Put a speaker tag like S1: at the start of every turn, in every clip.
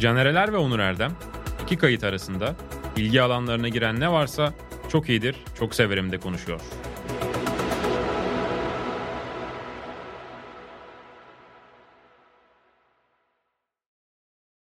S1: Canereler ve Onur Erdem iki kayıt arasında ilgi alanlarına giren ne varsa çok iyidir, çok severim de konuşuyor.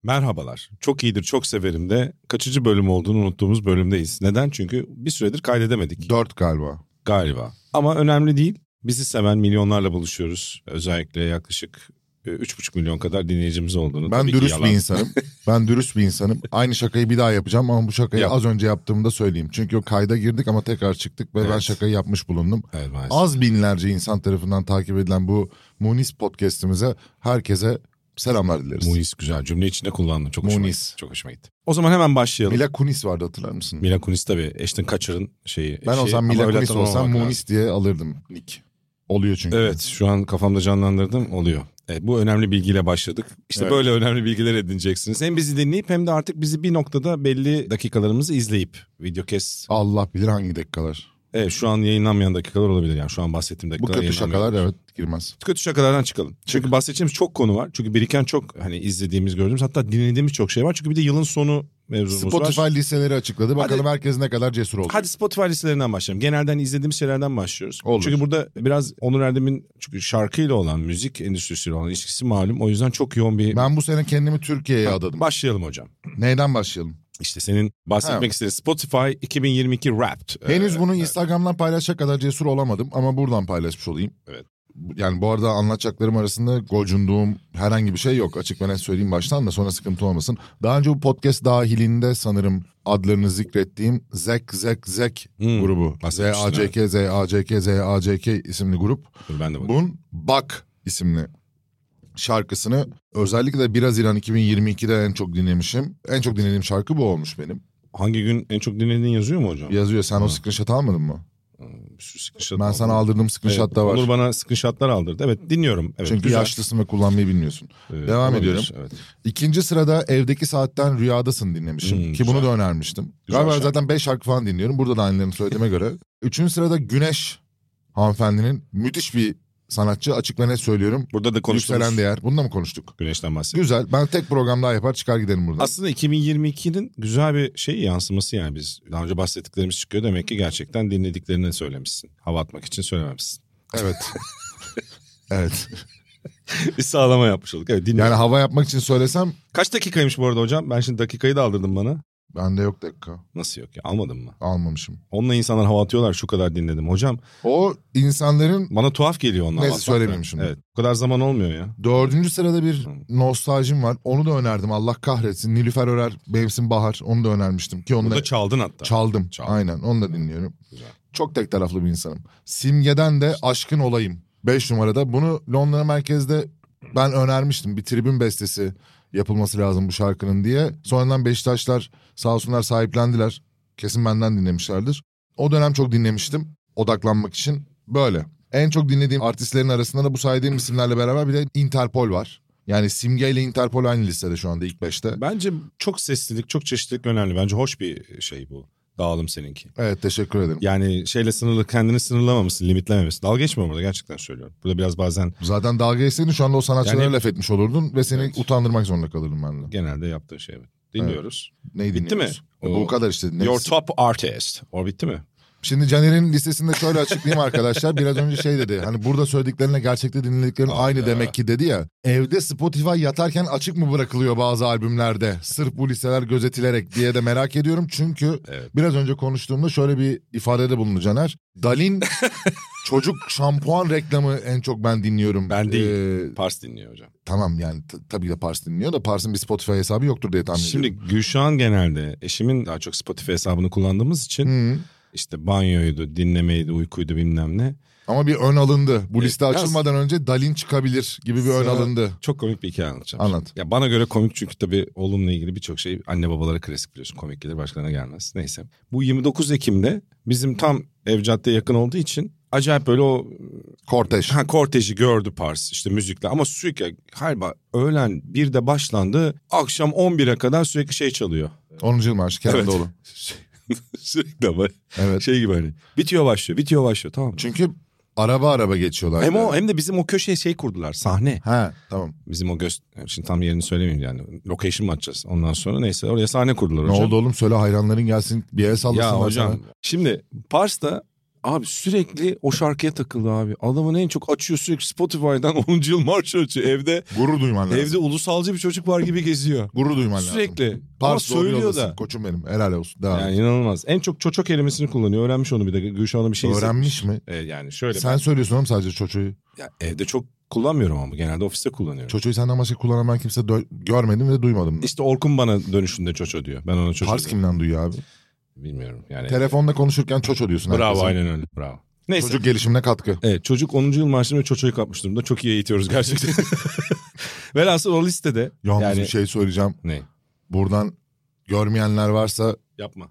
S2: Merhabalar. Çok iyidir, çok severim de kaçıcı bölüm olduğunu unuttuğumuz bölümdeyiz. Neden? Çünkü bir süredir kaydedemedik
S3: Dört galiba.
S2: galiba. Ama önemli değil. Bizi seven milyonlarla buluşuyoruz. Özellikle yaklaşık e, 3,5 milyon kadar dinleyicimiz olduğunu.
S3: Ben
S2: tabii ki
S3: dürüst
S2: yalan.
S3: bir insanım. Ben dürüst bir insanım. Aynı şakayı bir daha yapacağım ama bu şakayı
S2: Yap.
S3: az önce yaptığımda söyleyeyim. Çünkü o kayda girdik ama tekrar çıktık ve ben
S2: Evet.
S3: şakayı yapmış bulundum.
S2: Evet, maalesef.
S3: Az binlerce insan tarafından takip edilen bu Munis podcast'imize herkese selamlar dileriz.
S2: Munis güzel cümle içinde kullandım. Çok hoşuma
S3: Munis.
S2: gitti. Çok hoşuma gitti. O zaman hemen başlayalım. Mila,
S3: Mila Kunis vardı hatırlar mısın?
S2: Kunis tabii. Ashton Kutcher'ın şeyi.
S3: ben
S2: eşi.
S3: olsam
S2: şey, Ama
S3: Mila
S2: öyle
S3: Kunis olsam
S2: hatırlamamak
S3: Munis diye alırdım nick. Oluyor çünkü.
S2: Evet şu an kafamda canlandırdım oluyor. Evet, bu önemli bilgiyle başladık. İşte
S3: Evet.
S2: böyle önemli bilgiler edineceksiniz. Hem bizi dinleyip hem de artık bizi bir noktada belli dakikalarımızı izleyip videocast.
S3: Allah bilir hangi dakikalar.
S2: Evet şu an yayınlanmayan dakikalar olabilir yani şu an bahsettiğim
S3: Bu
S2: dakikalar
S3: kötü
S2: yayınlanmayan.
S3: şakalar evet girmez.
S2: Kötü şakalardan çıkalım. Çünkü bahsedeceğimiz çok konu var. Çünkü biriken çok hani izlediğimiz, gördüğümüz hatta dinlediğimiz çok şey var. Çünkü bir de yılın sonu mevzumuz var.
S3: Spotify listeleri açıkladı. Bakalım
S2: Hadi.
S3: herkes ne kadar cesur oldu.
S2: Hadi Spotify listelerinden başlayalım. Genelden izlediğimiz şeylerden başlıyoruz.
S3: Olur.
S2: Çünkü burada biraz Onur Erdem'in çünkü şarkıyla olan, müzik endüstrisiyle olan ilişkisi malum. O yüzden çok yoğun bir...
S3: Ben bu sene kendimi Türkiye'ye adadım.
S2: Başlayalım hocam.
S3: Neyden başlayalım?
S2: İşte senin bahsetmek
S3: Ha.
S2: istediğin Spotify 2022 Wrapped.
S3: Henüz
S2: Ee,
S3: bunu Instagram'dan paylaşacak kadar cesur olamadım ama buradan paylaşmış olayım.
S2: Evet.
S3: Yani bu arada anlatacaklarım arasında gocunduğum herhangi bir şey yok. Açık ve net söyleyeyim baştan da sonra sıkıntı olmasın. Daha önce bu podcast dahilinde sanırım adlarını zikrettiğim Zek Zek Zek
S2: Hmm,
S3: grubu.
S2: bahsetmiştin,
S3: ZACK ZACK ZACK isimli grup.
S2: Dur ben de bakayım.
S3: Bun Bak isimli şarkısını özellikle 1 Haziran 2022'de en çok dinlemişim. En çok dinlediğim şarkı bu olmuş benim.
S2: Hangi gün en çok dinlediğin yazıyor mu hocam?
S3: Yazıyor sen o
S2: Ha.
S3: screenshot almadın mı?
S2: Bir sürü screenshot
S3: Ben
S2: aldım.
S3: sana aldırdığım
S2: Evet,
S3: screenshot da var.
S2: Onur bana screenshotlar aldırdı. Evet dinliyorum. Evet,
S3: Çünkü
S2: güzel.
S3: yaşlısın ve kullanmayı bilmiyorsun.
S2: Ee,
S3: Devam ediyorum.
S2: Evet.
S3: İkinci sırada Evdeki Saatten Rüyadasın dinlemişim.
S2: Hmm,
S3: ki bunu da önermiştim.
S2: Güzel
S3: Galiba
S2: şarkı.
S3: zaten 5 şarkı falan dinliyorum. Burada da aynılarını söylediğime göre. Üçüncü sırada Güneş hanımefendinin müthiş bir sanatçı. Açık ve net söylüyorum.
S2: Burada da
S3: Yükselen
S2: konuştuğumuz
S3: değer. Bunu da mı konuştuk?
S2: güneşten bahsediyoruz.
S3: Güzel. Ben tek program daha yapar çıkar gidelim buradan.
S2: Aslında 2022'nin güzel bir şey yansıması yani biz daha önce bahsettiklerimiz çıkıyor demek ki gerçekten dinlediklerini söylemişsin. Hava atmak için söylememişsin.
S3: evet. evet.
S2: bir sağlama yapmış olduk. Evet dinliyorum.
S3: Yani hava yapmak için söylesem
S2: Kaç dakikaymış bu arada hocam? Ben şimdi dakikayı da aldırdım bana.
S3: bende yok dakika.
S2: Nasıl yok ya almadın mı?
S3: Almamışım.
S2: Onunla insanlar hava atıyorlar şu kadar dinledim. Hocam
S3: O insanların
S2: bana tuhaf geliyor onlar.
S3: Neyse,
S2: hava atmak.
S3: söylemeyeyim şimdi.
S2: Evet bu kadar zaman olmuyor ya.
S3: Dördüncü sırada bir
S2: Hı.
S3: nostaljim var. Onu da önerdim. Allah kahretsin. Nilüfer Örer, Mevsim Bahar. Onu da önermiştim. Ki onu
S2: Bunu
S3: da
S2: da çaldın hatta.
S3: çaldım.
S2: Çaldın.
S3: Aynen. Onu da dinliyorum.
S2: Güzel.
S3: Çok tek taraflı bir insanım. Simge'den de Aşkın Olayım. Beş numarada. Bunu Londra merkezde ben önermiştim. Bir tribün bestesi yapılması lazım bu şarkının diye. Sonradan Beşiktaşlar sağ olsunlar sahiplendiler. Kesin benden dinlemişlerdir. O dönem çok dinlemiştim. Odaklanmak için. Böyle. En çok dinlediğim artistlerin arasında da bu saydığım isimlerle beraber bir de Interpol var. Yani Simge ile Interpol aynı listede şu anda ilk beşte.
S2: Bence çok seslilik, çok çeşitlilik önemli. Bence hoş bir şey bu. Dağılım seninki.
S3: Evet teşekkür ederim.
S2: Yani şeyle sınırlı, kendini sınırlamamışsın, limitlememişsin. Dalga geçmiyorum burada gerçekten söylüyorum. Burada biraz bazen
S3: Zaten dalga geçseydin şu anda o sanatçılara
S2: Yani-
S3: laf etmiş olurdun ve seni
S2: Evet.
S3: utandırmak zorunda kalırdım ben de.
S2: genelde yaptığın şey. evet. Dinliyoruz.
S3: Neyi
S2: Bitti
S3: dinliyoruz?
S2: mi?
S3: E, Bu
S2: O-
S3: kadar işte. Neyse.
S2: Your top artist. O bitti mi?
S3: Şimdi Caner'in listesinde şöyle açıklayayım arkadaşlar. Biraz önce şey dedi. Hani burada söylediklerine gerçekte dinlediklerin
S2: Hayda.
S3: aynı demek ki dedi ya. Evde Spotify yatarken açık mı bırakılıyor bazı albümlerde? Sırf bu listeler gözetilerek diye de merak ediyorum. Çünkü
S2: Evet.
S3: biraz önce konuştuğumda şöyle bir ifadede bulundu Caner. Dalin çocuk şampuan reklamı en çok ben dinliyorum.
S2: Ben değil.
S3: Ee,
S2: Pars dinliyor hocam.
S3: Tamam yani t- tabii ki de Pars dinliyor da Pars'ın bir Spotify hesabı yoktur diye tahmin
S2: Şimdi
S3: ediyorum.
S2: Gülşah'ın genelde eşimin daha çok Spotify hesabını kullandığımız için
S3: Hı.
S2: işte banyoydu, dinlemeydi, uykuydu bilmem ne.
S3: Ama bir ön alındı. Bu
S2: E,
S3: liste
S2: biraz-
S3: açılmadan önce Dalin çıkabilir gibi bir ön
S2: Sıra-
S3: alındı.
S2: Çok komik bir hikaye anlatacağım.
S3: Anlat.
S2: Ya bana göre komik çünkü tabii oğlumla ilgili birçok şey anne babalara klasik biliyorsun. Komik gelir başkalarına gelmez. Neyse. Bu 29 Ekim'de bizim tam ev caddeye yakın olduğu için acayip böyle o
S3: Korteş.
S2: ha, korteji gördü Pars işte müzikle. Ama sürekli galiba öğlen bir de başlandı akşam 11'e kadar sürekli şey çalıyor.
S3: 10. yıl marşı Kenan
S2: Evet.
S3: Doğulu.
S2: sürekli ama
S3: Evet.
S2: şey gibi hani bitiyor başlıyor bitiyor başlıyor tamam mı?
S3: Çünkü Araba araba geçiyorlar.
S2: Hem
S3: yani.
S2: o hem de bizim o köşeye şey kurdular sahne.
S3: He tamam.
S2: Bizim o göz şimdi tam yerini söylemeyeyim yani. Location mı atacağız ondan sonra neyse oraya sahne kurdular hocam.
S3: Ne oldu oğlum söyle hayranların gelsin bir el sallasın.
S2: Ya hocam şimdi Pars'ta abi sürekli o şarkıya takıldı abi. Adamın en çok açıyor sürekli Spotify'dan 10. yıl marş ölçüyor. Evde
S3: Gurur duyman lazım.
S2: evde ulusalcı bir çocuk var gibi geziyor.
S3: Gurur duyman lazım.
S2: Sürekli. Ama
S3: Pars doğru
S2: söylüyor
S3: yoldasın
S2: da.
S3: koçum benim. Helal olsun. Devam
S2: Yani
S3: et.
S2: inanılmaz. En çok çoço kelimesini kullanıyor. Öğrenmiş onu bir de. Gülşah ona bir şey
S3: Öğrenmiş mi?
S2: hisset- Ee, yani şöyle.
S3: Sen söylüyorsun oğlum sadece çocuğu.
S2: Ya evde çok kullanmıyorum ama genelde ofiste kullanıyorum.
S3: Çocuğu senden başka kullanan ben kimse dö- görmedim ve duymadım.
S2: İşte Orkun bana dönüşünde çoço diyor. Ben ona çoço
S3: Pars
S2: diyorum.
S3: kimden duyuyor abi?
S2: Bilmiyorum yani.
S3: Telefonda konuşurken çoço diyorsun.
S2: Bravo
S3: herkese.
S2: aynen öyle. Bravo. Neyse.
S3: Çocuk gelişimine katkı.
S2: Evet çocuk 10. yıl marşını ve çoçoyu kapmış durumda. Çok iyi eğitiyoruz gerçekten. Velhasıl o listede.
S3: Yalnız
S2: yani,
S3: bir şey söyleyeceğim.
S2: Ne?
S3: Buradan görmeyenler varsa
S2: Yapma.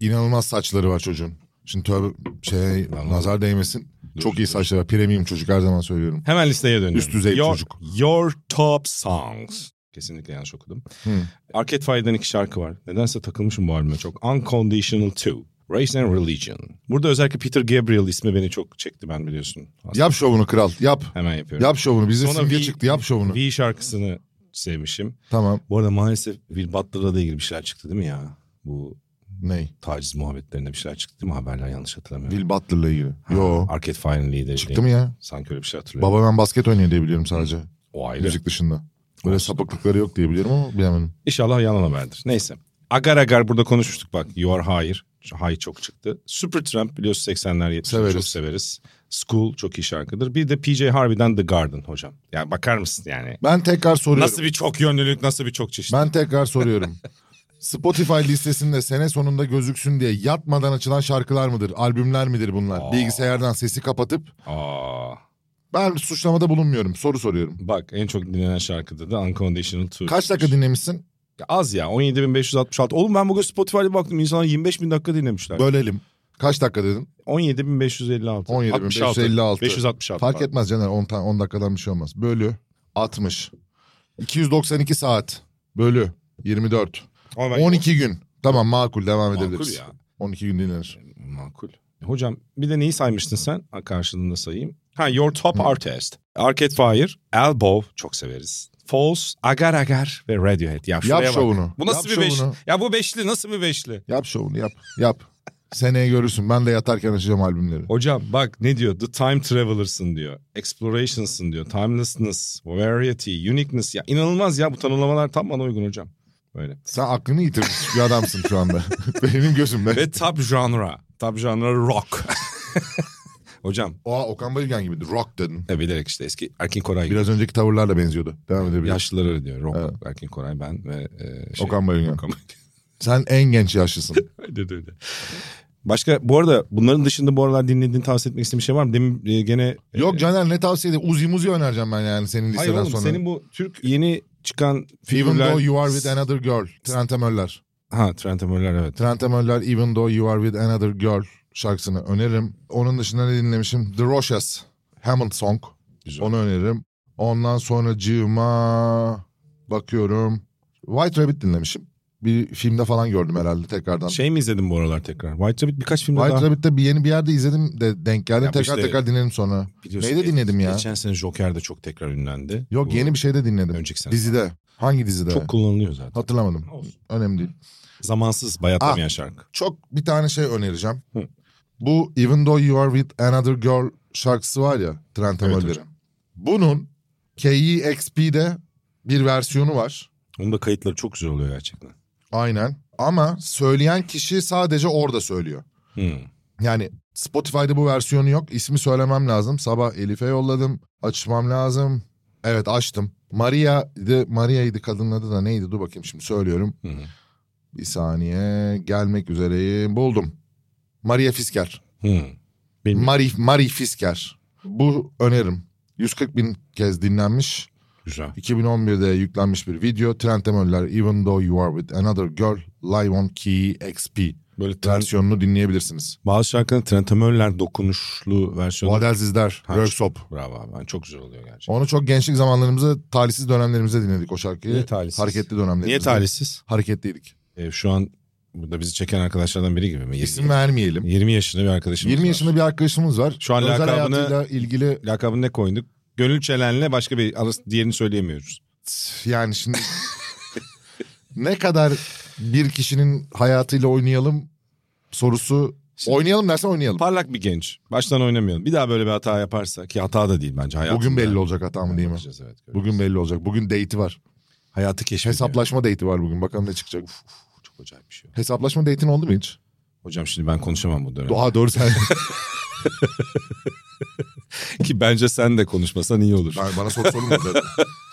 S3: inanılmaz saçları var çocuğun. Şimdi tövbe şey
S2: Tamam.
S3: nazar değmesin.
S2: Dur,
S3: Çok iyi
S2: dur.
S3: saçları var. Premium çocuk her zaman söylüyorum.
S2: Hemen listeye dönüyorum.
S3: Üst düzey
S2: your,
S3: çocuk.
S2: Your Top Songs. Kesinlikle yanlış okudum.
S3: Hı.
S2: Arcade Fire'dan iki şarkı var. Nedense takılmışım bu albüme çok. Unconditional 2. Race and Religion. Burada özellikle Peter Gabriel ismi beni çok çekti ben biliyorsun. Aslında
S3: Yap şovunu kral yap.
S2: Hemen yapıyorum.
S3: Yap şovunu. Bize
S2: Sonra
S3: simge
S2: V-
S3: çıktı yap şovunu.
S2: V şarkısını sevmişim.
S3: Tamam.
S2: Bu arada maalesef Will Butler'la da ilgili bir şeyler çıktı değil mi ya? Bu
S3: Ney?
S2: taciz muhabbetlerinde bir şeyler çıktı değil mi? Haberler yanlış hatırlamıyorum.
S3: Will Butler'la ilgili. Yo.
S2: Arcade Fire'ın lideri.
S3: Çıktı mı ya?
S2: Sanki öyle bir şey hatırlıyorum.
S3: Baba ben basket oynuyor diye biliyorum sadece.
S2: O ayrı.
S3: Müzik dışında. Böyle sapıklıkları yok diye biliyorum ama bilemedim.
S2: İnşallah yalan haberdir. Neyse. Agar agar burada konuşmuştuk bak. You are higher. High çok çıktı. Supertramp biliyorsun 80'ler 70'ler
S3: Severiz.
S2: çok severiz. School çok iyi şarkıdır. Bir de PJ Harvey'den The Garden hocam. Yani bakar mısın yani?
S3: Ben tekrar soruyorum.
S2: Nasıl bir çok yönlülük, nasıl bir çok çeşit.
S3: Ben tekrar soruyorum. Spotify listesinde sene sonunda gözüksün diye yatmadan açılan şarkılar mıdır? Albümler midir bunlar?
S2: Aa.
S3: Bilgisayardan sesi kapatıp
S2: Aa,
S3: ben suçlamada bulunmuyorum. Soru soruyorum.
S2: bak en çok dinlenen şarkıda da Unconditional 2.
S3: Kaç dakika dinlemişsin?
S2: Az ya 17.566. Oğlum ben bugün Spotify'da baktım insanlar 25.000 dakika dinlemişler.
S3: Bölelim. Kaç dakika dedin?
S2: 17.556.
S3: 17.556.
S2: 566.
S3: Fark etmez Caner 10, ta- 10 dakikadan bir şey olmaz. Bölü 60. 292 saat. Bölü 24. 12 gün. Tamam makul devam
S2: Makul
S3: edebiliriz.
S2: ya.
S3: 12 gün dinlenir.
S2: Makul. Hocam bir de neyi saymıştın sen? Ha, Karşılığında sayayım. Ha Your Top Artist. Arcade Fire, Elbow çok severiz. False, Agar Agar ve Radiohead. Ya şuraya
S3: Yap
S2: bak.
S3: şovunu.
S2: Bu nasıl
S3: Yap
S2: bir beşli?
S3: şovunu.
S2: Ya bu beşli nasıl bir beşli?
S3: Yap şovunu yap. Yap. Seneye görürsün. Ben de yatarken açacağım albümleri.
S2: Hocam bak ne diyor? The Time Traveler'sın diyor. Explorations'ın diyor. Timelessness, Variety, Uniqueness. Ya inanılmaz ya bu tanımlamalar tam bana uygun hocam. Böyle.
S3: Sen aklını yitirmiş bir adamsın şu anda. Benim gözümde.
S2: Ve top genre. Top genre rock. Hocam.
S3: Oha Okan Bayülgen gibiydi. Rock dedin.
S2: E bilerek işte eski Erkin Koray. Biraz
S3: Biraz önceki tavırlarla benziyordu. Devam edebiliriz.
S2: yaşlıları ödüyor. Rock,
S3: Evet.
S2: Erkin Koray, ben ve e, şey.
S3: Okan Bayülgen.
S2: Okan.
S3: Sen en genç yaşlısın.
S2: öyle de öyle. Başka bu arada bunların dışında bu aralar dinlediğin tavsiye etmek istediğin bir şey var mı? Demin e, gene... e,
S3: Yok Caner ne tavsiye edeyim? Uzi muzi önereceğim ben yani senin listeden
S2: Hayır oğlum
S3: sonra.
S2: senin bu Türk yeni çıkan
S3: Even
S2: figürler...
S3: though you are with another girl. Trent Möller.
S2: Ha Trent Amörler evet.
S3: Trent Möller Even though you are with another girl şarkısını öneririm. Onun dışında ne dinlemişim? The Roches. Hammond Song.
S2: Güzel.
S3: Onu öneririm. Ondan sonra Cima bakıyorum. White Rabbit dinlemişim. Bir filmde falan gördüm herhalde tekrardan.
S2: Şey mi izledin bu aralar tekrar? White Rabbit birkaç filmde
S3: White
S2: daha...
S3: Rabbit'te bir yeni bir yerde izledim de denk geldim.
S2: Ya bu
S3: tekrar
S2: işte-
S3: tekrar dinledim sonra.
S2: Biliyorsun,
S3: Neyde
S2: e,
S3: dinledim ya?
S2: Geçen sene Joker de çok tekrar ünlendi.
S3: Yok
S2: Bu
S3: yeni bir şeyde dinledim.
S2: Önceki sene.
S3: Dizide. Hangi dizide?
S2: Çok kullanılıyor zaten.
S3: Hatırlamadım.
S2: Olsun.
S3: Önemli değil.
S2: Zamansız,
S3: Ah.
S2: bayatlamayan şarkı.
S3: Çok bir tane şey önereceğim.
S2: Hı.
S3: Bu Even Though You Are With Another Girl şarkısı var ya
S2: Evet
S3: Trent Amöller'in.
S2: hocam.
S3: Bunun KEXP'de bir versiyonu var.
S2: Onun da kayıtları çok güzel oluyor gerçekten.
S3: Aynen. Ama söyleyen kişi sadece orada söylüyor.
S2: Hmm.
S3: Yani Spotify'da bu versiyonu yok. İsmi söylemem lazım. Sabah Elif'e yolladım. Açmam lazım. Evet açtım. Maria de Maria'ydı kadının adı da neydi? Dur bakayım şimdi söylüyorum.
S2: Hı hı.
S3: Bir saniye gelmek üzereyim. Buldum. Maria Fisker.
S2: Hmm. Bilmiyorum.
S3: Mari, Mari Fisker. Bu önerim. 140 bin kez dinlenmiş.
S2: Güzel.
S3: 2011'de yüklenmiş bir video. Trent Demöller Even Though You Are With Another Girl Live On Key XP.
S2: Böyle trans
S3: versiyonunu dinleyebilirsiniz.
S2: Bazı şarkının trentamörler dokunuşlu versiyonu.
S3: Vadel Zizler,
S2: Ha,
S3: Workshop.
S2: Bravo abi. Yani çok güzel oluyor gerçekten.
S3: Onu çok gençlik zamanlarımızda, talihsiz dönemlerimizde dinledik o şarkıyı.
S2: Niye talihsiz?
S3: Hareketli dönemlerimizde.
S2: Niye talihsiz?
S3: Hareketliydik.
S2: Ee, şu an Burada bizi çeken arkadaşlardan biri gibi mi?
S3: İsim
S2: 20,
S3: vermeyelim.
S2: 20 yaşında bir arkadaşımız
S3: 20
S2: var.
S3: yaşında bir arkadaşımız var.
S2: Şu an
S3: Özel
S2: lakabını-
S3: hayatıyla ilgili
S2: Lakabını ne koyduk? Gönül çelenle başka bir arası- diğerini söyleyemiyoruz.
S3: yani şimdi ne kadar bir kişinin hayatıyla oynayalım sorusu
S2: Şimdi-
S3: oynayalım dersen oynayalım.
S2: Parlak bir genç. Baştan oynamayalım. Bir daha böyle bir hata yaparsa ki hata da değil bence. Hayatında.
S3: Bugün belli olacak hata mı değil mi?
S2: Bakacağız, evet, göreceğiz.
S3: Bugün belli olacak. Bugün date'i var.
S2: hayatı keşfediyor.
S3: Hesaplaşma date'i var bugün. Bakalım ne çıkacak. Uf.
S2: Çok acayip bir şey.
S3: Hesaplaşma date'in oldu mu hiç?
S2: Hocam şimdi ben konuşamam bu dönem.
S3: Doğa doğru sen.
S2: Ki bence sen de konuşmasan iyi olur.
S3: Ben, bana soru sorulmadı zaten.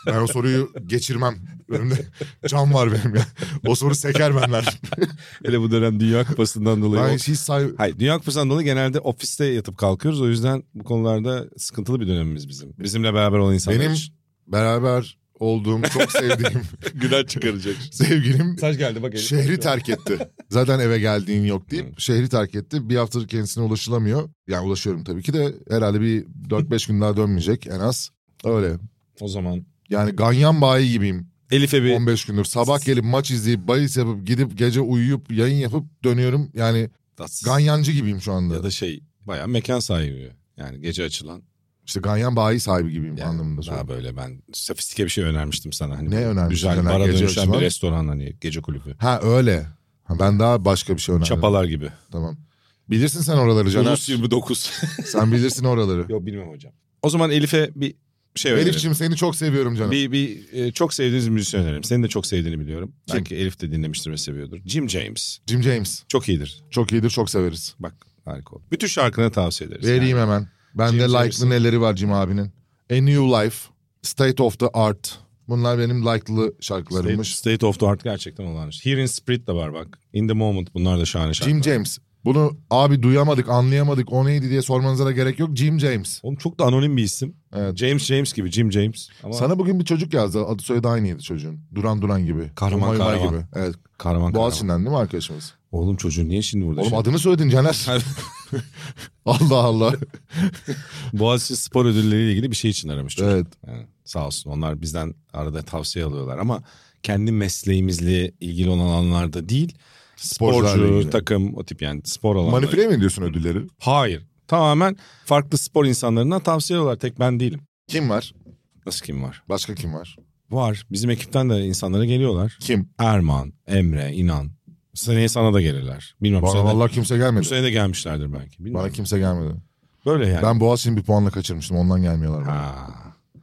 S3: Ben o soruyu geçirmem. Önümde cam var benim ya. O soru seker benden.
S2: Hele bu dönem Dünya Kupası'ndan dolayı.
S3: Ben
S2: o-
S3: hiç say...
S2: Hayır Dünya Kupası'ndan dolayı genelde ofiste yatıp kalkıyoruz. O yüzden bu konularda sıkıntılı bir dönemimiz bizim. Bizimle beraber olan insanlar
S3: Benim
S2: için.
S3: beraber olduğum, çok sevdiğim
S2: Günah çıkaracak.
S3: sevgilim
S2: Mesaj geldi bak. herif
S3: şehri
S2: konuşuyor.
S3: terk etti. Zaten eve geldiğin yok deyip şehri terk etti. Bir haftadır kendisine ulaşılamıyor. Yani ulaşıyorum tabii ki de herhalde bir 4-5 gün daha dönmeyecek en az. Öyle.
S2: O zaman.
S3: Yani ganyan bayi gibiyim
S2: Elif'e bir
S3: 15 gündür. Sabah gelip maç izleyip bahis yapıp gidip gece uyuyup yayın yapıp dönüyorum. Yani
S2: tatsız
S3: ganyancı gibiyim şu anda.
S2: ya da şey bayağı mekan sahibi. Yani gece açılan.
S3: İşte ganyan bayi sahibi gibiyim
S2: Yani
S3: anlamında.
S2: Daha
S3: söylüyorum.
S2: böyle ben sofistike bir şey önermiştim sana. Hani
S3: Ne
S2: böyle
S3: önermiştin?
S2: Güzel
S3: Öner-
S2: bara
S3: gece
S2: dönüşen bir
S3: açılan-
S2: restoran hani gece kulübü.
S3: Ha öyle. Ha, ben daha başka bir şey önerdim.
S2: Çapalar gibi.
S3: Tamam. Bilirsin sen oraları
S2: Ulus
S3: Caner.
S2: 29.
S3: sen bilirsin oraları.
S2: Yok bilmem hocam. O zaman Elif'e bir şey önerelim.
S3: Elif'ciğim seni çok seviyorum canım.
S2: Bir, bir e, çok sevdiğiniz bir müzisyen önerelim. Senin de çok sevdiğini biliyorum.
S3: Kim?
S2: Belki Elif de dinlemiştir ve seviyordur. Jim James.
S3: Jim James.
S2: Çok iyidir.
S3: Çok iyidir çok severiz.
S2: Bak harika oldu. Bütün şarkını tavsiye ederiz.
S3: Vereyim
S2: Yani.
S3: hemen. Bende
S2: Jim
S3: like'lı
S2: James'in-
S3: neleri var Jim abinin. A New Life, State of the Art. Bunlar benim like'lı
S2: State,
S3: şarkılarımmış.
S2: State of the Art gerçekten olağanüstü. Here in Spirit de var bak. In the Moment bunlar da şahane şarkılar.
S3: Jim James. Bunu abi duyamadık, anlayamadık, o neydi diye sormanıza da gerek yok. Jim James.
S2: Oğlum çok da anonim bir isim.
S3: Evet.
S2: James James gibi Jim James. Ama
S3: Sana bugün bir çocuk yazdı. Adı soyadı aynıydı çocuğun. Duran Duran gibi.
S2: Kahraman
S3: Humay Humay
S2: Kahraman.
S3: gibi. Evet.
S2: kahraman kahraman.
S3: Boğaziçi'nden değil mi arkadaşımız?
S2: Oğlum çocuğu niye şimdi burada?
S3: Oğlum
S2: şey-
S3: adını söyledin Caner. Allah Allah.
S2: Boğaziçi spor ödülleriyle ilgili bir şey için aramış çocuk.
S3: evet.
S2: Yani sağ olsun onlar bizden arada tavsiye alıyorlar ama kendi mesleğimizle ilgili olan alanlarda değil.
S3: Sporcularla
S2: Sporcu,
S3: ilgili.
S2: takım o tip yani spor alanları.
S3: Manipüle mi ediyorsun ödülleri?
S2: Hayır. Tamamen farklı spor insanlarından tavsiye alıyorlar. Tek ben değilim.
S3: Kim var?
S2: Nasıl kim var?
S3: Başka kim var?
S2: Var. Bizim ekipten de insanlara geliyorlar.
S3: Kim?
S2: Erman, Emre, İnan. Seneye sana da gelirler. Bilmem. bu
S3: Bana
S2: sene de-
S3: vallahi kimse
S2: bu
S3: gelmedi.
S2: sene de gelmişlerdir belki. Bilmem.
S3: Bana kimse gelmedi.
S2: Böyle yani.
S3: Ben Boğaziçi'ni bir puanla kaçırmıştım. Ondan gelmiyorlar bana.
S2: Ha.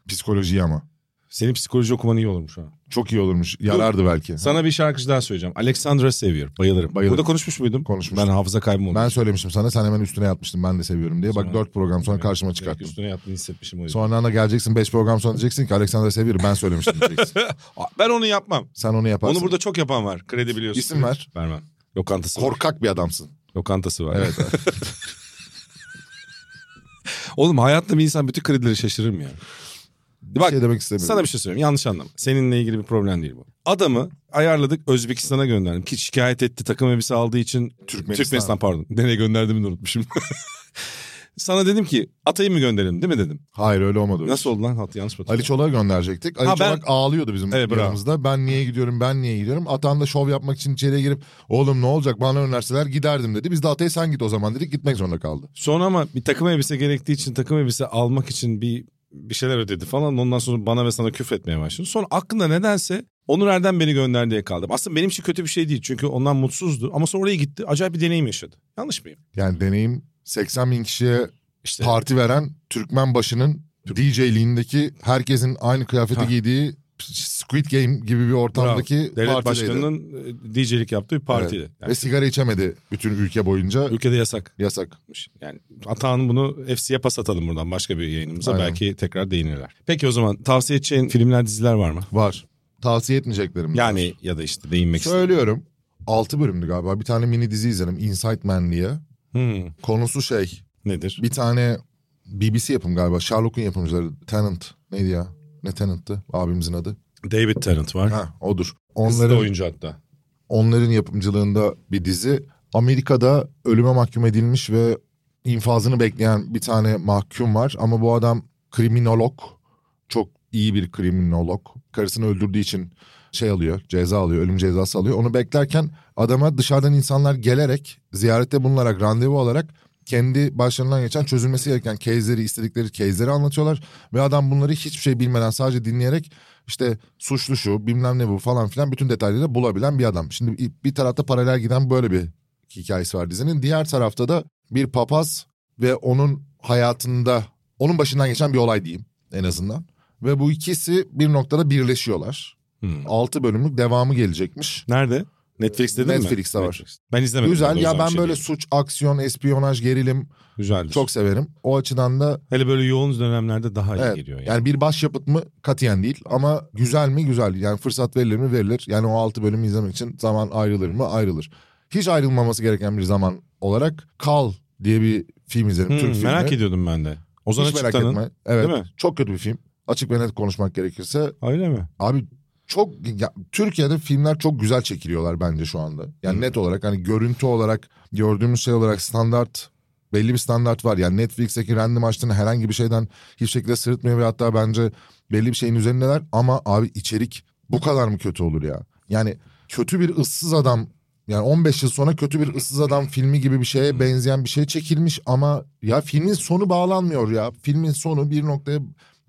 S3: Psikolojiyi ama.
S2: Senin psikoloji okuman iyi olurmuş ha.
S3: Çok iyi olurmuş. Yarardı belki.
S2: Sana bir şarkıcı daha söyleyeceğim. Alexandra Sevier. Bayılırım.
S3: Bayılırım.
S2: Burada konuşmuş muydum?
S3: Konuşmuştuk.
S2: Ben hafıza kaybım oldu.
S3: Ben söylemiştim sana. Sen hemen üstüne yatmıştın. Ben de seviyorum diye. Bak
S2: Sonra-
S3: dört program sonra karşıma
S2: Direkt
S3: çıkarttın.
S2: Üstüne yattığını hissetmişim o yüzden.
S3: Sonra da geleceksin beş program sonra diyeceksin ki Alexander Sevier ben söylemiştim diyeceksin.
S2: Aa, Ben onu yapmam.
S3: Sen onu yaparsın.
S2: Onu burada çok yapan var. Kredi biliyorsun.
S3: İsim ver.
S2: Vermem. Lokantası var.
S3: Korkak bir adamsın.
S2: Lokantası var. Evet. Oğlum hayatta bir insan bütün kredileri şaşırır mı ya?
S3: Bir
S2: Bak,
S3: şey demek istemiyorum.
S2: Sana bir şey söyleyeyim. Yanlış anlama. Seninle ilgili bir problem değil bu. Adamı ayarladık Özbekistan'a gönderdim. Ki şikayet etti takım elbise aldığı için.
S3: Türkmenistan.
S2: Türkmenistan pardon. Nereye gönderdiğimi de unutmuşum. Sana dedim ki atayı mı gönderelim değil mi dedim.
S3: Hayır öyle olmadı.
S2: şey- Nasıl oldu lan? Hat, yanlış mı?
S3: Ali Çolak'ı gönderecektik. Ali
S2: Ha, ben-
S3: Çolak ağlıyordu bizim
S2: Evet, bravo.
S3: yanımızda. Ben niye gidiyorum, ben niye gidiyorum. Atan da şov yapmak için içeriye girip oğlum ne olacak bana önerseler giderdim dedi. Biz de Atay'a sen git o zaman dedik gitmek zorunda kaldı.
S2: Sonra ama bir takım elbise gerektiği için takım elbise almak için bir bir şeyler ödedi falan. Ondan sonra bana ve sana küfretmeye başladı. Sonra aklında nedense Onur Erdem beni gönder diye kaldı. Aslında benim için kötü bir şey değil. Çünkü ondan mutsuzdu. Ama sonra oraya gitti. Acayip bir deneyim yaşadı. Yanlış mıyım?
S3: Yani deneyim 80 bin kişiye
S2: İşte
S3: parti veren Türkmen başının DJ'liğindeki herkesin aynı kıyafeti
S2: Ha.
S3: giydiği Squid Game gibi bir ortamdaki
S2: devlet
S3: partideydi.
S2: başkanının e, DJ'lik yaptığı bir partiydi.
S3: Evet.
S2: Yani
S3: Ve sigara içemedi bütün ülke boyunca.
S2: ülkede yasakmış.
S3: Yasak.
S2: Yani Atağan bunu FC'ye pas atalım buradan başka bir yayınımıza.
S3: Aynen.
S2: Belki tekrar değinirler. Peki o zaman tavsiye edeceğin filmler diziler var mı?
S3: Var. Tavsiye etmeyeceklerim.
S2: Yani ya da işte değinmek istedim.
S3: Söylüyorum. 6 bölümdü galiba. Bir tane mini dizi izledim. Insight Man diye.
S2: Hmm,
S3: Konusu şey.
S2: nedir?
S3: Bir tane BBC yapım galiba. Sherlock'un yapımcıları. Tenant. Neydi ya? Ne Tenant'tı? Abimizin adı.
S2: David Tennant var.
S3: Ha odur.
S2: Kızı da
S3: Onların,
S2: oyuncu hatta.
S3: onların yapımcılığında bir dizi. Amerika'da ölüme mahkum edilmiş ve infazını bekleyen bir tane mahkum var. Ama bu adam kriminolog. Çok iyi bir kriminolog. Karısını öldürdüğü için şey alıyor, ceza alıyor, ölüm cezası alıyor. Onu beklerken adama dışarıdan insanlar gelerek, ziyarette bulunarak, randevu alarak kendi başlarından geçen çözülmesi gereken case'leri, istedikleri case'leri anlatıyorlar. Ve adam bunları hiçbir şey bilmeden sadece dinleyerek işte suçlu şu, bilmem ne bu falan filan bütün detayları bulabilen bir adam. Şimdi bir tarafta paralel giden böyle bir hikayesi var dizinin. Diğer tarafta da bir papaz ve onun hayatında onun başından geçen bir olay diyeyim en azından. Ve bu ikisi bir noktada birleşiyorlar.
S2: Hmm.
S3: 6 bölümlük devamı gelecekmiş.
S2: Nerede? Netflix'te değil mi?
S3: Netflix'te var.
S2: Ben izlemedim.
S3: Güzel
S2: o zaman
S3: ya ben
S2: şey
S3: böyle
S2: diyeyim.
S3: suç, aksiyon, espiyonaj, gerilim
S2: Güzeldir.
S3: çok severim. O açıdan da
S2: Hele böyle yoğun dönemlerde daha iyi
S3: Evet,
S2: geliyor yani.
S3: yani bir başyapıt mı katiyen değil ama güzel mi güzel. Yani fırsat verilir mi verilir. Yani o 6 bölümü izlemek için zaman ayrılır mı ayrılır. Hiç ayrılmaması gereken bir zaman olarak Kal diye bir film izledim
S2: Hmm,
S3: Türk filmi.
S2: merak ediyordum ben de. Ozan
S3: Hiç merak
S2: Açıktan'ın.
S3: etme. Evet.
S2: Değil mi?
S3: Çok kötü bir film. Açık ve net konuşmak gerekirse
S2: Öyle mi?
S3: abi çok ya, Türkiye'de filmler çok güzel çekiliyorlar bence şu anda. Yani
S2: Hı.
S3: net olarak hani görüntü olarak gördüğümüz şey olarak standart belli bir standart var. Yani Netflix'teki random açtığını herhangi bir şeyden hiçbir şekilde sırıtmıyor ve hatta bence belli bir şeyin üzerindeler ama abi içerik bu kadar mı kötü olur ya? Yani kötü bir ıssız adam yani 15 yıl sonra kötü bir ıssız adam filmi gibi bir şeye benzeyen bir şey çekilmiş ama ya filmin sonu bağlanmıyor ya. Filmin sonu bir noktaya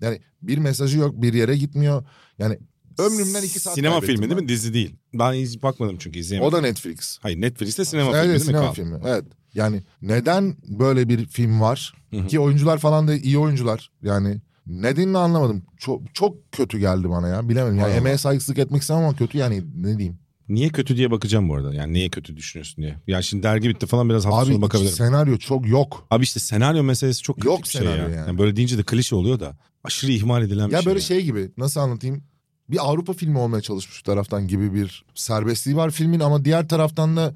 S3: yani bir mesajı yok bir yere gitmiyor. Yani ömrümden iki saat
S2: Sinema
S3: kaybettim
S2: filmi değil
S3: ben.
S2: mi? Dizi değil. Ben hiç bakmadım çünkü izleyemedim.
S3: O da Netflix.
S2: Hayır Netflix'te sinema
S3: evet,
S2: filmi değil mi?
S3: sinema
S2: Kaan?
S3: filmi. Evet. Yani neden böyle bir film var?
S2: Hı hı.
S3: Ki oyuncular falan da iyi oyuncular. Yani nedenini anlamadım. Çok çok kötü geldi bana ya. Bilemedim. Yani
S2: Vay
S3: emeğe saygısızlık etmek istemem ama kötü yani ne diyeyim.
S2: Niye kötü diye bakacağım bu arada. Yani niye kötü düşünüyorsun diye. Ya şimdi dergi bitti falan biraz hafta sonu
S3: Abi
S2: bakabilirim.
S3: senaryo çok yok.
S2: Abi işte senaryo meselesi çok kritik
S3: Yok
S2: bir şey
S3: senaryo
S2: ya.
S3: yani.
S2: Böyle deyince de klişe oluyor da aşırı ihmal edilen bir
S3: Ya
S2: şey.
S3: böyle
S2: ya.
S3: şey gibi nasıl anlatayım? Bir Avrupa filmi olmaya çalışmış bir taraftan gibi bir serbestliği var filmin ama diğer taraftan da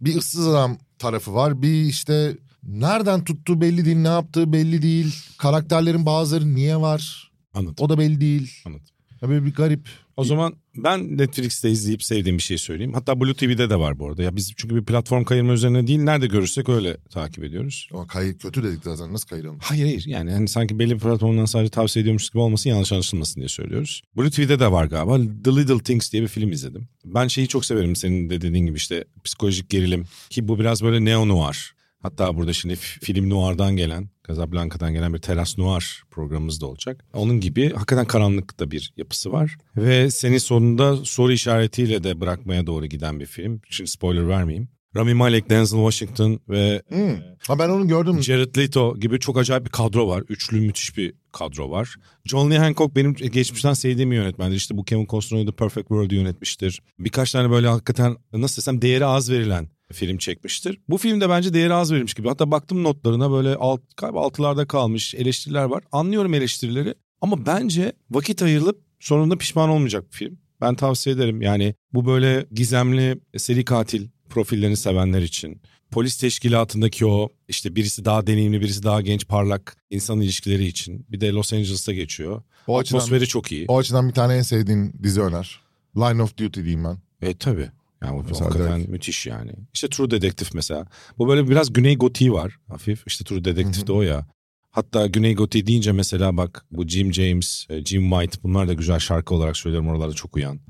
S3: bir ıssız adam tarafı var. Bir işte nereden tuttuğu belli değil, ne yaptığı belli değil. Karakterlerin bazıları niye var?
S2: Anladım.
S3: O da belli değil.
S2: Anladım.
S3: Ya böyle bir garip.
S2: O zaman ben Netflix'te izleyip sevdiğim bir şey söyleyeyim. Hatta Blue TV'de de var bu arada. Ya biz çünkü bir platform kayırma üzerine değil nerede görürsek öyle takip ediyoruz.
S3: Ama kayı kötü dedik zaten nasıl kayıralım?
S2: Hayır hayır yani hani sanki belli bir platformdan sadece tavsiye ediyormuş gibi olmasın yanlış anlaşılmasın diye söylüyoruz. Blue TV'de de var galiba. The Little Things diye bir film izledim. Ben şeyi çok severim senin de dediğin gibi işte psikolojik gerilim ki bu biraz böyle neo noir. Hatta burada şimdi f- film noir'dan gelen, Casablanca'dan gelen bir teras noir programımız da olacak. Onun gibi hakikaten karanlık da bir yapısı var. Ve senin sonunda soru işaretiyle de bırakmaya doğru giden bir film. Şimdi spoiler vermeyeyim. Rami Malek, Denzel Washington ve
S3: Hmm. Ha ben onu gördüm.
S2: Jared Leto gibi çok acayip bir kadro var. Üçlü müthiş bir kadro var. John Lee Hancock benim geçmişten sevdiğim bir yönetmendir. İşte bu Kevin Costner'ı The Perfect World'u yönetmiştir. Birkaç tane böyle hakikaten nasıl desem değeri az verilen film çekmiştir. Bu filmde bence değeri az verilmiş gibi. Hatta baktım notlarına böyle alt, galiba altılarda kalmış eleştiriler var. Anlıyorum eleştirileri ama bence vakit ayrılıp sonunda pişman olmayacak bir film. Ben tavsiye ederim. Yani bu böyle gizemli seri katil profillerini sevenler için polis teşkilatındaki o işte birisi daha deneyimli birisi daha genç parlak insan ilişkileri için bir de Los Angeles'ta geçiyor.
S3: O açıdan,
S2: Atmosferi çok iyi.
S3: o açıdan bir tane en sevdiğin dizi öner. Line of Duty diyeyim ben.
S2: E tabi. Yani bu
S3: Mesela
S2: hakikaten
S3: direkt.
S2: müthiş yani. İşte True Detective mesela. Bu böyle biraz Güney Gotiği var hafif. İşte True Detective de o ya. Hatta Güney Gotiği deyince mesela bak bu Jim James, e, Jim White bunlar da güzel şarkı olarak söylüyorum oralarda çok uyan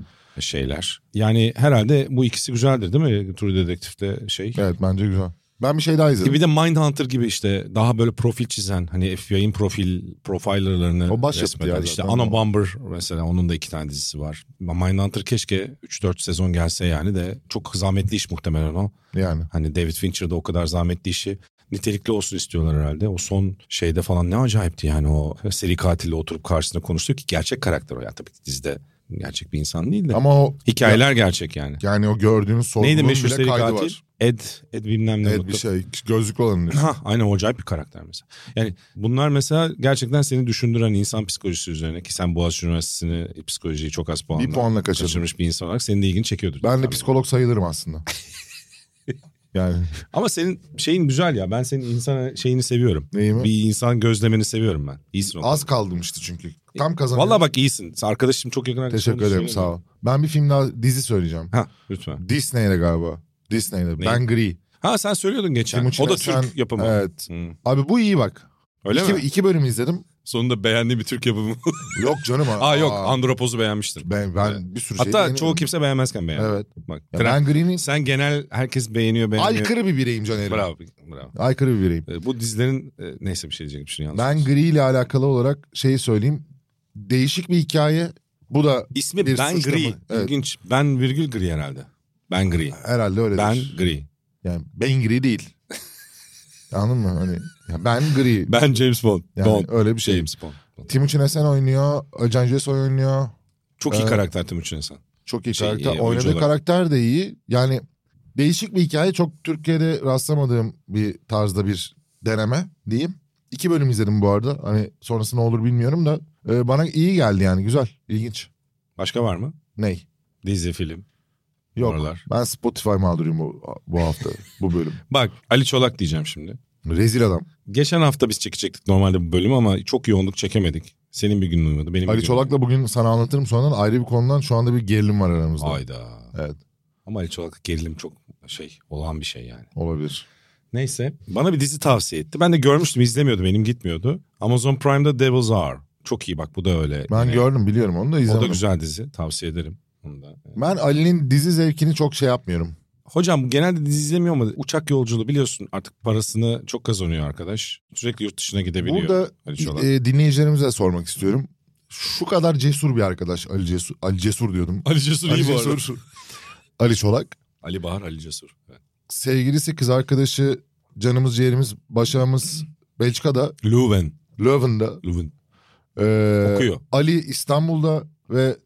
S2: şeyler. Yani herhalde bu ikisi güzeldir değil mi? True Detective'de şey.
S3: Evet bence güzel. Ben bir şey daha izledim.
S2: Gibi de Mindhunter gibi işte daha böyle profil çizen hani FBI'nin profil profilerlarını
S3: O başyapıt
S2: resmeden.
S3: ya
S2: işte
S3: zaten
S2: Anna
S3: o.
S2: Bumber mesela onun da iki tane dizisi var. Mindhunter keşke 3-4 sezon gelse yani de çok zahmetli iş muhtemelen o.
S3: Yani.
S2: Hani David Fincher'da o kadar zahmetli işi nitelikli olsun istiyorlar herhalde. O son şeyde falan ne acayipti yani o seri katille oturup karşısında konuştu ki gerçek karakter o ya tabii ki dizide gerçek bir insan değil de.
S3: Ama o
S2: Hikayeler gerçek yani.
S3: yani o gördüğünüz
S2: Neydi
S3: sorgunun
S2: meşhur
S3: bile
S2: seri
S3: kaydı
S2: katil?
S3: var.
S2: Ed, Ed bilmem ne.
S3: Evet
S2: Mutlu-
S3: bir şey gözlüklü olanın. diyor.
S2: Ha, aynen o acayip bir karakter mesela. Yani bunlar mesela gerçekten seni düşündüren insan psikolojisi üzerine ki sen Boğaziçi Üniversitesi'ni e, psikolojiyi çok az puanla,
S3: Bir puanla kaçırdım.
S2: kaçırmış bir insan olarak senin de ilgini çekiyordur.
S3: Ben de
S2: Tabii.
S3: psikolog sayılırım aslında. yani
S2: Ama senin şeyin güzel ya ben senin insan şeyini seviyorum.
S3: neyimi?
S2: Bir insan gözlemini seviyorum ben. İyisin o.
S3: Az kaldım işte çünkü. Tam
S2: konuda.
S3: kazanıyorum.
S2: Vallahi bak iyisin. Sen Arkadaşım çok yakın arkadaşım.
S3: Teşekkür ederim sağ ol. Ben bir film daha dizi söyleyeceğim.
S2: Ha lütfen.
S3: Disney'le galiba. Disney'le.
S2: Ne?
S3: Ben Gri.
S2: Ha sen söylüyordun geçen.
S3: Timuçin
S2: o da
S3: Özen-
S2: Türk yapımı.
S3: Evet.
S2: Hı.
S3: Abi bu iyi bak.
S2: Öyle
S3: iki,
S2: mi?
S3: iki bölüm izledim.
S2: Sonunda beğendiği bir Türk yapımı.
S3: Yok canım.
S2: Aa yok Andropoz'u beğenmiştir.
S3: Ben, ben bir sürü şey
S2: Hatta
S3: beğeniyorum.
S2: çoğu kimse beğenmezken beğendi.
S3: Evet.
S2: Bak,
S3: Ya
S2: Trump-
S3: ben Green'in
S2: Sen genel herkes beğeniyor beğenmiyor.
S3: aykırı bir bireyim Caner'im.
S2: Bravo. bravo.
S3: Aykırı bir bireyim.
S2: Ee, bu dizilerin e, neyse bir şey diyecektim şimdi yalnız.
S3: Ben Gri ile alakalı olarak şeyi söyleyeyim. Değişik bir hikaye. Bu da
S2: İsmi
S3: bir
S2: Ben
S3: suçlama.
S2: Gri.
S3: Evet.
S2: İlginç. Ben virgül Gri herhalde. Ben Gri.
S3: herhalde öyle.
S2: Ben Gri.
S3: Yani ben Gri değil. Anladın mı? Hani ya ben Gri.
S2: Ben James Bond.
S3: Yani
S2: Bond.
S3: öyle bir şey.
S2: James Bond.
S3: Timuçin Esen oynuyor. Özcan Cesoy oynuyor.
S2: Çok iyi
S3: Evet.
S2: karakter Timuçin Esen.
S3: Çok iyi
S2: Şey,
S3: karakter.
S2: iyi, oyuncu
S3: Oynadığı
S2: olarak.
S3: karakter de iyi. Yani değişik bir hikaye. Çok Türkiye'de rastlamadığım bir tarzda bir deneme diyeyim. İki bölüm izledim bu arada. Hani sonrası ne olur bilmiyorum da. e, bana iyi geldi yani. Güzel. ilginç.
S2: Başka var mı?
S3: Ney?
S2: Dizi, film.
S3: Yok.
S2: Oralar.
S3: Ben Spotify mağduruyum bu, bu hafta. bu bölüm.
S2: Bak Ali Çolak diyeceğim şimdi.
S3: Rezil adam.
S2: Geçen hafta biz çekecektik normalde bu bölüm ama çok yoğunluk çekemedik. Senin bir günün uymadı. Benim bir
S3: Ali
S2: günüm
S3: Çolak'la bugün sana anlatırım sonradan ayrı bir konudan şu anda bir gerilim var
S2: uymadı.
S3: aramızda.
S2: Hayda.
S3: Evet.
S2: Ama Ali Çolak gerilim çok şey olan bir şey yani.
S3: Olabilir.
S2: Neyse. Bana bir dizi tavsiye etti. Ben de görmüştüm izlemiyordum elim gitmiyordu. Amazon Prime'da Devil's Hour. Çok iyi bak bu da öyle.
S3: Ben
S2: Yine-
S3: gördüm biliyorum onu da
S2: O da
S3: izlemedim.
S2: güzel dizi. Tavsiye ederim. Onu da.
S3: Ben Ali'nin dizi zevkini çok şey yapmıyorum.
S2: Hocam genelde dizi izlemiyor ama uçak yolculuğu biliyorsun artık parasını çok kazanıyor arkadaş. Sürekli yurt dışına gidebiliyor.
S3: Burada
S2: Ali Çolak.
S3: e, dinleyicilerimize sormak istiyorum. Şu kadar cesur bir arkadaş Ali Cesur, Ali Cesur diyordum.
S2: Ali Cesur
S3: Ali
S2: iyi bu arada.
S3: Cesur. Ali Çolak.
S2: Ali Bahar, Ali Cesur. Evet.
S3: Sevgilisi, kız arkadaşı, canımız, ciğerimiz, başağımız Belçika'da,
S2: Leuven.
S3: Leuven'da.
S2: Leuven.
S3: Ee,
S2: Okuyor.
S3: Ali İstanbul'da ve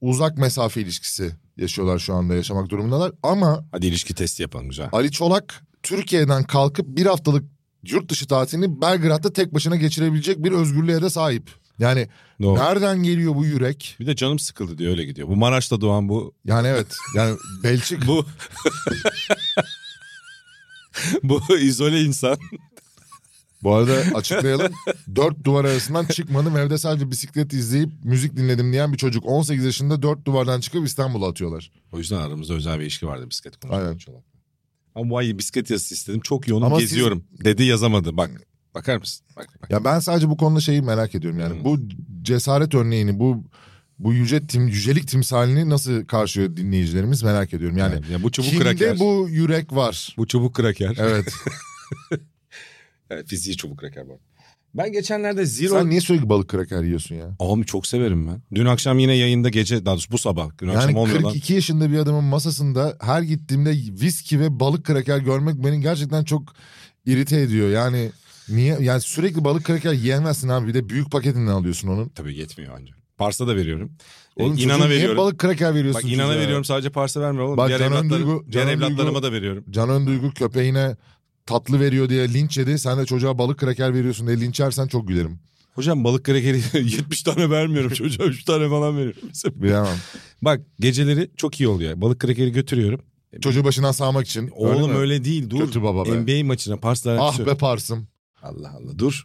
S3: uzak mesafe ilişkisi yaşıyorlar şu anda yaşamak durumundalar. Ama
S2: Hadi ilişki testi yapalım güzel.
S3: Ali Çolak Türkiye'den kalkıp bir haftalık yurt dışı tatilini Belgrad'da tek başına geçirebilecek bir özgürlüğe de sahip. Yani
S2: Doğru.
S3: nereden geliyor bu yürek?
S2: Bir de canım sıkıldı diye öyle gidiyor. Bu Maraş'ta doğan bu
S3: Yani evet. Yani Belçik
S2: bu bu izole insan.
S3: bu arada açıklayalım. dört duvar arasından çıkmadım evde sadece bisiklet izleyip müzik dinledim diyen bir çocuk. 18 yaşında dört duvardan çıkıp İstanbul'a atıyorlar.
S2: O yüzden aramızda özel bir ilişki vardı bisiklet konusunda.
S3: Aynen.
S2: Çolak. Ama bu ay bisiklet yazısı istedim. Çok yoğunum
S3: Ama siz-
S2: geziyorum. Dedi yazamadı. Bak. Bakar mısın? Bak, bak.
S3: Ya ben sadece bu konuda şeyi merak ediyorum yani.
S2: Hı.
S3: Bu cesaret örneğini bu bu yüce tim, yücelik timsalini nasıl karşılıyor dinleyicilerimiz merak ediyorum. Yani,
S2: Yani ya bu çubuk
S3: kimde
S2: kraker. Bu...
S3: bu yürek var?
S2: çubuk kraker.
S3: Evet.
S2: Evet, fiziği çubuk kraker bu. Ben geçenlerde Zero...
S3: Sen niye sürekli balık kraker yiyorsun ya?
S2: Abi çok severim ben. Dün akşam yine yayında gece daha doğrusu bu sabah. Dün akşam
S3: Yani
S2: olmuyor lan.
S3: 42 yaşında bir adamın masasında her gittiğimde viski ve balık kraker görmek beni gerçekten çok irite ediyor. Yani niye yani sürekli balık kraker yiyemezsin abi bir de büyük paketinden alıyorsun onun.
S2: Tabii yetmiyor ancak. Parsa da veriyorum.
S3: Oğlum
S2: Oğlum,
S3: çocuğa
S2: E, inana
S3: niye
S2: veriyorum.
S3: balık kraker veriyorsun.
S2: Bak inana
S3: çocuğa?
S2: veriyorum sadece parsa vermiyorum oğlum.
S3: Bak,
S2: diğer
S3: Canan
S2: evlatlarım,
S3: Duygu-
S2: diğer
S3: Canan
S2: evlatlarıma
S3: Duygu-
S2: da veriyorum.
S3: Can Önduygu köpeğine tatlı veriyor diye linç yedi. Sen de çocuğa balık kraker veriyorsun diye linç yersen çok gülerim.
S2: Hocam balık krekeri 70 tane vermiyorum çocuğa 3 tane falan veriyorum.
S3: Bilemem.
S2: Bak geceleri çok iyi oluyor. Balık krekeri götürüyorum.
S3: Çocuğu başından sağmak için.
S2: Oğlum
S3: mi?
S2: öyle, değil dur.
S3: Kötü baba be.
S2: NBA maçına Pars'la
S3: Ah be parsım.
S2: Allah Allah dur.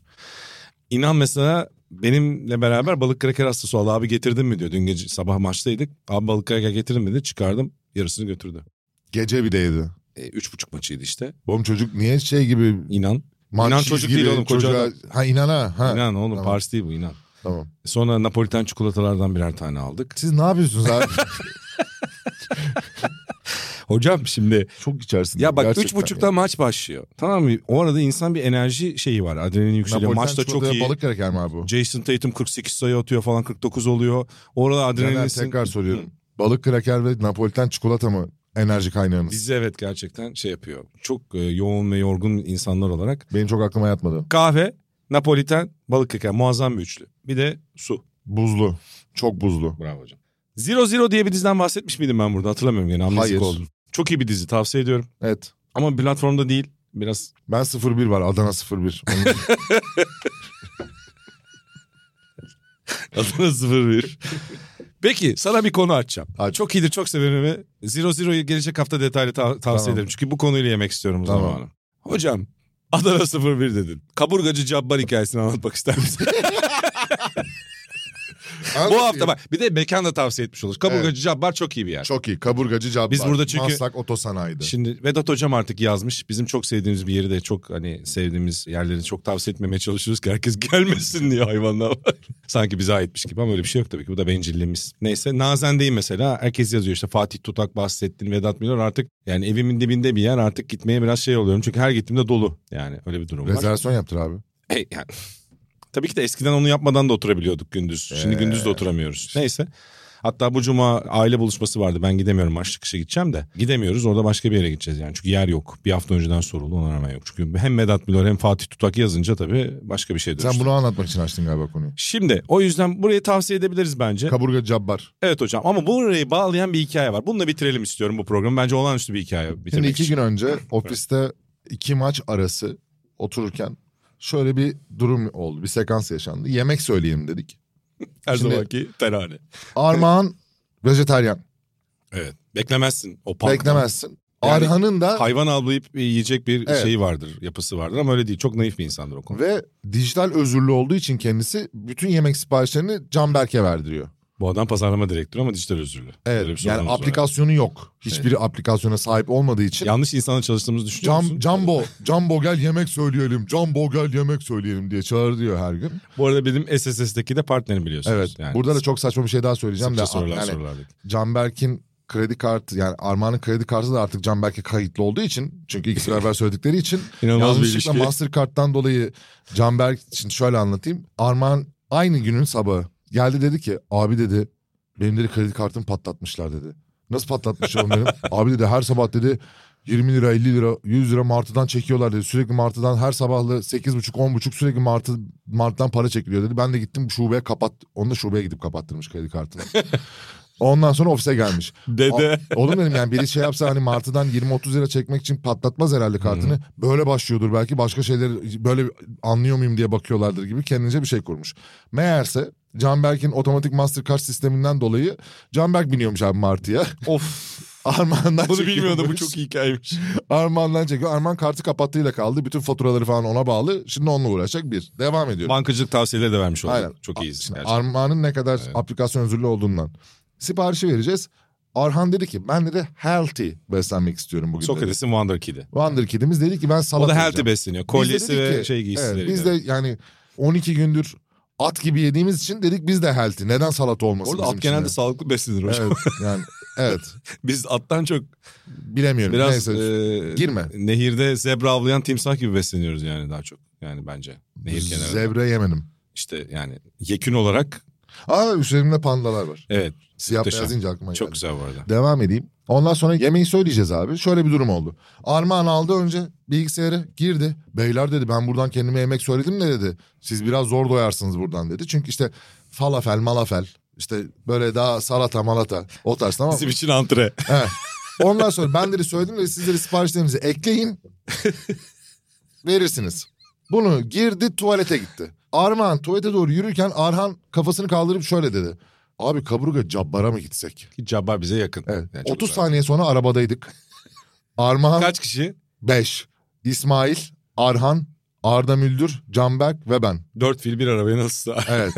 S2: İnan mesela benimle beraber balık kraker hastası oldu. Abi getirdin mi diyor. Dün gece sabah maçtaydık. Abi balık kraker getirdin mi dedi. Çıkardım yarısını götürdü.
S3: Gece bir de yedi.
S2: E, üç buçuk maçıydı işte.
S3: Oğlum çocuk niye şey gibi
S2: İnan.
S3: Mançiz
S2: İnan çocuk değil oğlum, koca
S3: çocuğa-
S2: adam.
S3: Ha inan ha. ha.
S2: inan oğlum
S3: tamam.
S2: Pars değil bu inan.
S3: Tamam.
S2: Sonra Napoliten çikolatalardan birer tane aldık.
S3: Siz ne yapıyorsunuz abi?
S2: Hocam şimdi
S3: Çok içersin.
S2: ya bak
S3: Gerçekten
S2: üç buçukta maç başlıyor. Tamam mı? O arada insan bir enerji şeyi var. Adrenalin
S3: ya.
S2: yükseliyor.
S3: Napolitan
S2: Maçta çok
S3: çikolataya
S2: iyi.
S3: Balık kraker mi abi bu?
S2: Jason Tatum 48 sayı atıyor falan 49 oluyor. Orada
S3: Caner
S2: adrenalin...
S3: tekrar soruyorum. Balık kraker ve Napolitan çikolata mı enerji kaynağınız?
S2: Bizi evet gerçekten şey yapıyor. Çok e, yoğun ve yorgun insanlar olarak.
S3: Benim çok aklıma yatmadı.
S2: Kahve, Napoliten, balık kraker muazzam bir üçlü. Bir de su.
S3: Buzlu. Çok buzlu.
S2: Bravo hocam. Zero Zero diye bir diziden bahsetmiş miydim ben burada hatırlamıyorum gene amnezik
S3: Hayır.
S2: oldum. Çok iyi bir dizi tavsiye ediyorum.
S3: Evet.
S2: Ama platformda değil biraz.
S3: Ben 01 var Adana 01. Onu-
S2: Adana 01. Peki sana bir konu açacağım.
S3: Aç.
S2: Çok iyidir çok severim ve Zero Zero'yu gelecek hafta detaylı ta- tavsiye
S3: Tamam.
S2: ederim. Çünkü bu konuyla yemek istiyorum o
S3: Tamam.
S2: zamanı. Hocam Adana 01 dedin. Kaburgacı Cabbar hikayesini anlatmak ister misin?
S3: Anladın
S2: Bu
S3: mı?
S2: hafta bak bir de mekan da tavsiye etmiş olur. Kaburgacı Cabbar çok iyi bir yer.
S3: Çok iyi. Kaburgacı Cabbar.
S2: Biz burada çünkü-
S3: Maslak Otosanayi'de.
S2: Şimdi Vedat hocam artık yazmış. Bizim çok sevdiğimiz bir yeri de çok hani sevdiğimiz yerleri çok tavsiye etmemeye çalışıyoruz ki herkes gelmesin diye hayvanlar var. Sanki bize aitmiş gibi ama öyle bir şey yok tabii ki. Bu da bencilliğimiz. Neyse Nazen'deyim mesela. Herkes yazıyor işte Fatih Tutak bahsettin Vedat Milor artık yani evimin dibinde bir yer artık gitmeye biraz şey oluyorum. Çünkü her gittiğimde dolu yani öyle bir durum var.
S3: Rezervasyon yaptır abi.
S2: E, yani, tabii ki de eskiden onu yapmadan da oturabiliyorduk gündüz. Şimdi
S3: Ee.
S2: gündüz de oturamıyoruz. Neyse. Hatta bu cuma aile buluşması vardı. Ben gidemiyorum. Maç çıkışı gideceğim de. Gidemiyoruz. Orada başka bir yere gideceğiz yani. Çünkü yer yok. Bir hafta önceden soruldu. Ona rağmen yok. Çünkü hem Vedat Milor hem Fatih Tutak yazınca tabii başka bir şey dönüştü.
S3: Sen bunu anlatmak için açtın galiba konuyu.
S2: Şimdi o yüzden burayı tavsiye edebiliriz bence.
S3: Kaburgacı Cabbar.
S2: evet hocam ama burayı bağlayan bir hikaye var. Bununla bitirelim istiyorum bu programı. Bence olağanüstü bir hikaye bitirmek
S3: Şimdi iki
S2: için.
S3: gün önce ofiste iki maç arası otururken şöyle bir durum oldu. Bir sekans yaşandı. Yemek söyleyeyim dedik.
S2: Her
S3: Şimdi-
S2: zamanki terane.
S3: Armağan vejetaryen.
S2: Evet. Beklemezsin o parktan.
S3: Beklemezsin.
S2: Yani
S3: Arhan'ın da
S2: hayvan avlayıp e, yiyecek bir
S3: Evet.
S2: şeyi vardır, yapısı vardır ama öyle değil. Çok naif bir insandır o konuda.
S3: ve dijital özürlü olduğu için kendisi bütün yemek siparişlerini Canberk'e verdiriyor.
S2: Bu adam pazarlama direktörü ama dijital özürlü. Öyle bir
S3: Evet.
S2: sorunumuz
S3: Yani
S2: var.
S3: aplikasyonu yok. Hiçbir aplikasyona sahip olmadığı için.
S2: Yanlış insanla çalıştığımızı düşünüyor
S3: Cam,
S2: musun?
S3: Cambo, Cambo gel yemek söyleyelim, Cambo gel yemek söyleyelim diye çağır diyor her gün.
S2: Bu arada benim SSS'deki de partnerim biliyorsunuz.
S3: Evet.
S2: Yani
S3: Burada da çok saçma bir şey daha söyleyeceğim
S2: sıkça
S3: de.
S2: sorular
S3: yani
S2: sorulardık.
S3: Canberk'in kredi kartı yani Armağan'ın kredi kartı da artık Canberk'e kayıtlı olduğu için çünkü ikisi beraber söyledikleri için
S2: İnanılmaz bir ilişki.
S3: yanlışlıkla Mastercard'dan dolayı Canberk için şöyle anlatayım. Armağan aynı günün sabahı geldi dedi ki abi dedi benim dedi kredi kartımı patlatmışlar dedi. Nasıl patlatmış oğlum dedim. abi dedi her sabah dedi 20 lira 50 lira 100 lira martıdan çekiyorlar dedi. Sürekli martıdan her sabahlı 8.30 10.30 sürekli martı martıdan para çekiliyor dedi. Ben de gittim şubeye kapat. Onu da şubeye gidip kapattırmış kredi kartını. Ondan sonra ofise gelmiş.
S2: Dede.
S3: A- Oğlum dedim yani biri şey yapsa hani martıdan 20-30 lira çekmek için patlatmaz herhalde kartını. Böyle başlıyordur belki başka şeyleri böyle anlıyor muyum diye bakıyorlardır gibi kendince bir şey kurmuş. Meğerse Canberk'in otomatik Mastercard sisteminden dolayı Canberk biniyormuş abi martıya.
S2: of.
S3: Armağan'dan
S2: Bunu
S3: çekiyormuş.
S2: bilmiyordum bu çok iyi hikayeymiş.
S3: Armağan'dan çekiyor. Armağan kartı kapattığıyla kaldı. Bütün faturaları falan ona bağlı. Şimdi onunla uğraşacak bir. Devam ediyorum.
S2: Bankacılık tavsiyeleri de vermiş olduk.
S3: Aynen.
S2: Çok iyiyiz.
S3: Şimdi
S2: gerçekten.
S3: Armağan'ın ne kadar
S2: Evet.
S3: aplikasyon özürlü olduğundan. Siparişi vereceğiz. Arhan dedi ki ben dedi healthy beslenmek istiyorum bugün. dedi.
S2: Sokrates'in Wonder Kid'i.
S3: Wonder Kid'imiz dedi ki ben
S2: O
S3: salata
S2: da
S3: yiyeceğim.
S2: healthy besleniyor.
S3: Biz de
S2: Kolyesi
S3: dedik
S2: ve
S3: ki,
S2: şey giysileri.
S3: Evet, biz de yani 12 gündür at gibi yediğimiz için dedik biz de healthy. Neden salata olmasın
S2: Orada
S3: bizim
S2: at
S3: için
S2: genelde
S3: dedi.
S2: sağlıklı beslenir hocam.
S3: Evet yani evet
S2: Biz attan çok
S3: bilemiyorum.
S2: Biraz
S3: Neyse.
S2: e,
S3: girme.
S2: Nehirde zebra avlayan timsah gibi besleniyoruz yani daha çok. Yani bence nehir kenarı.
S3: Zebra yemedim.
S2: işte yani yekün olarak
S3: Aa üzerimde pandalar var.
S2: evet
S3: Siyah
S2: Muhteşem.
S3: beyaz deyince aklıma
S2: çok
S3: geldi.
S2: güzel bu arada.
S3: Devam edeyim. Ondan sonra yemeği söyleyeceğiz abi. Şöyle bir durum oldu. Armağan aldı önce bilgisayarı girdi. Beyler dedi ben buradan kendime yemek söyledim de dedi. Siz biraz zor doyarsınız buradan dedi. Çünkü işte falafel malafel işte böyle daha salata malata o tarz tamam mı?
S2: Bizim için antre.
S3: Evet. Ondan sonra ben dedi söyledim de sizleri siparişlerinizi ekleyin. verirsiniz. Bunu girdi tuvalete gitti. Armağan tuvalete doğru yürürken Arhan kafasını kaldırıp şöyle dedi. Abi kaburga cabbara mı gitsek?
S2: Ki Cabbar bize yakın.
S3: Evet.
S2: Yani çok
S3: 30
S2: güzel.
S3: saniye sonra arabadaydık. Armağan
S2: Kaç kişi?
S3: 5. İsmail, Arhan, Arda Müldür, Canberk ve ben.
S2: Dört fil bir arabaya nasıl sığar?
S3: Evet.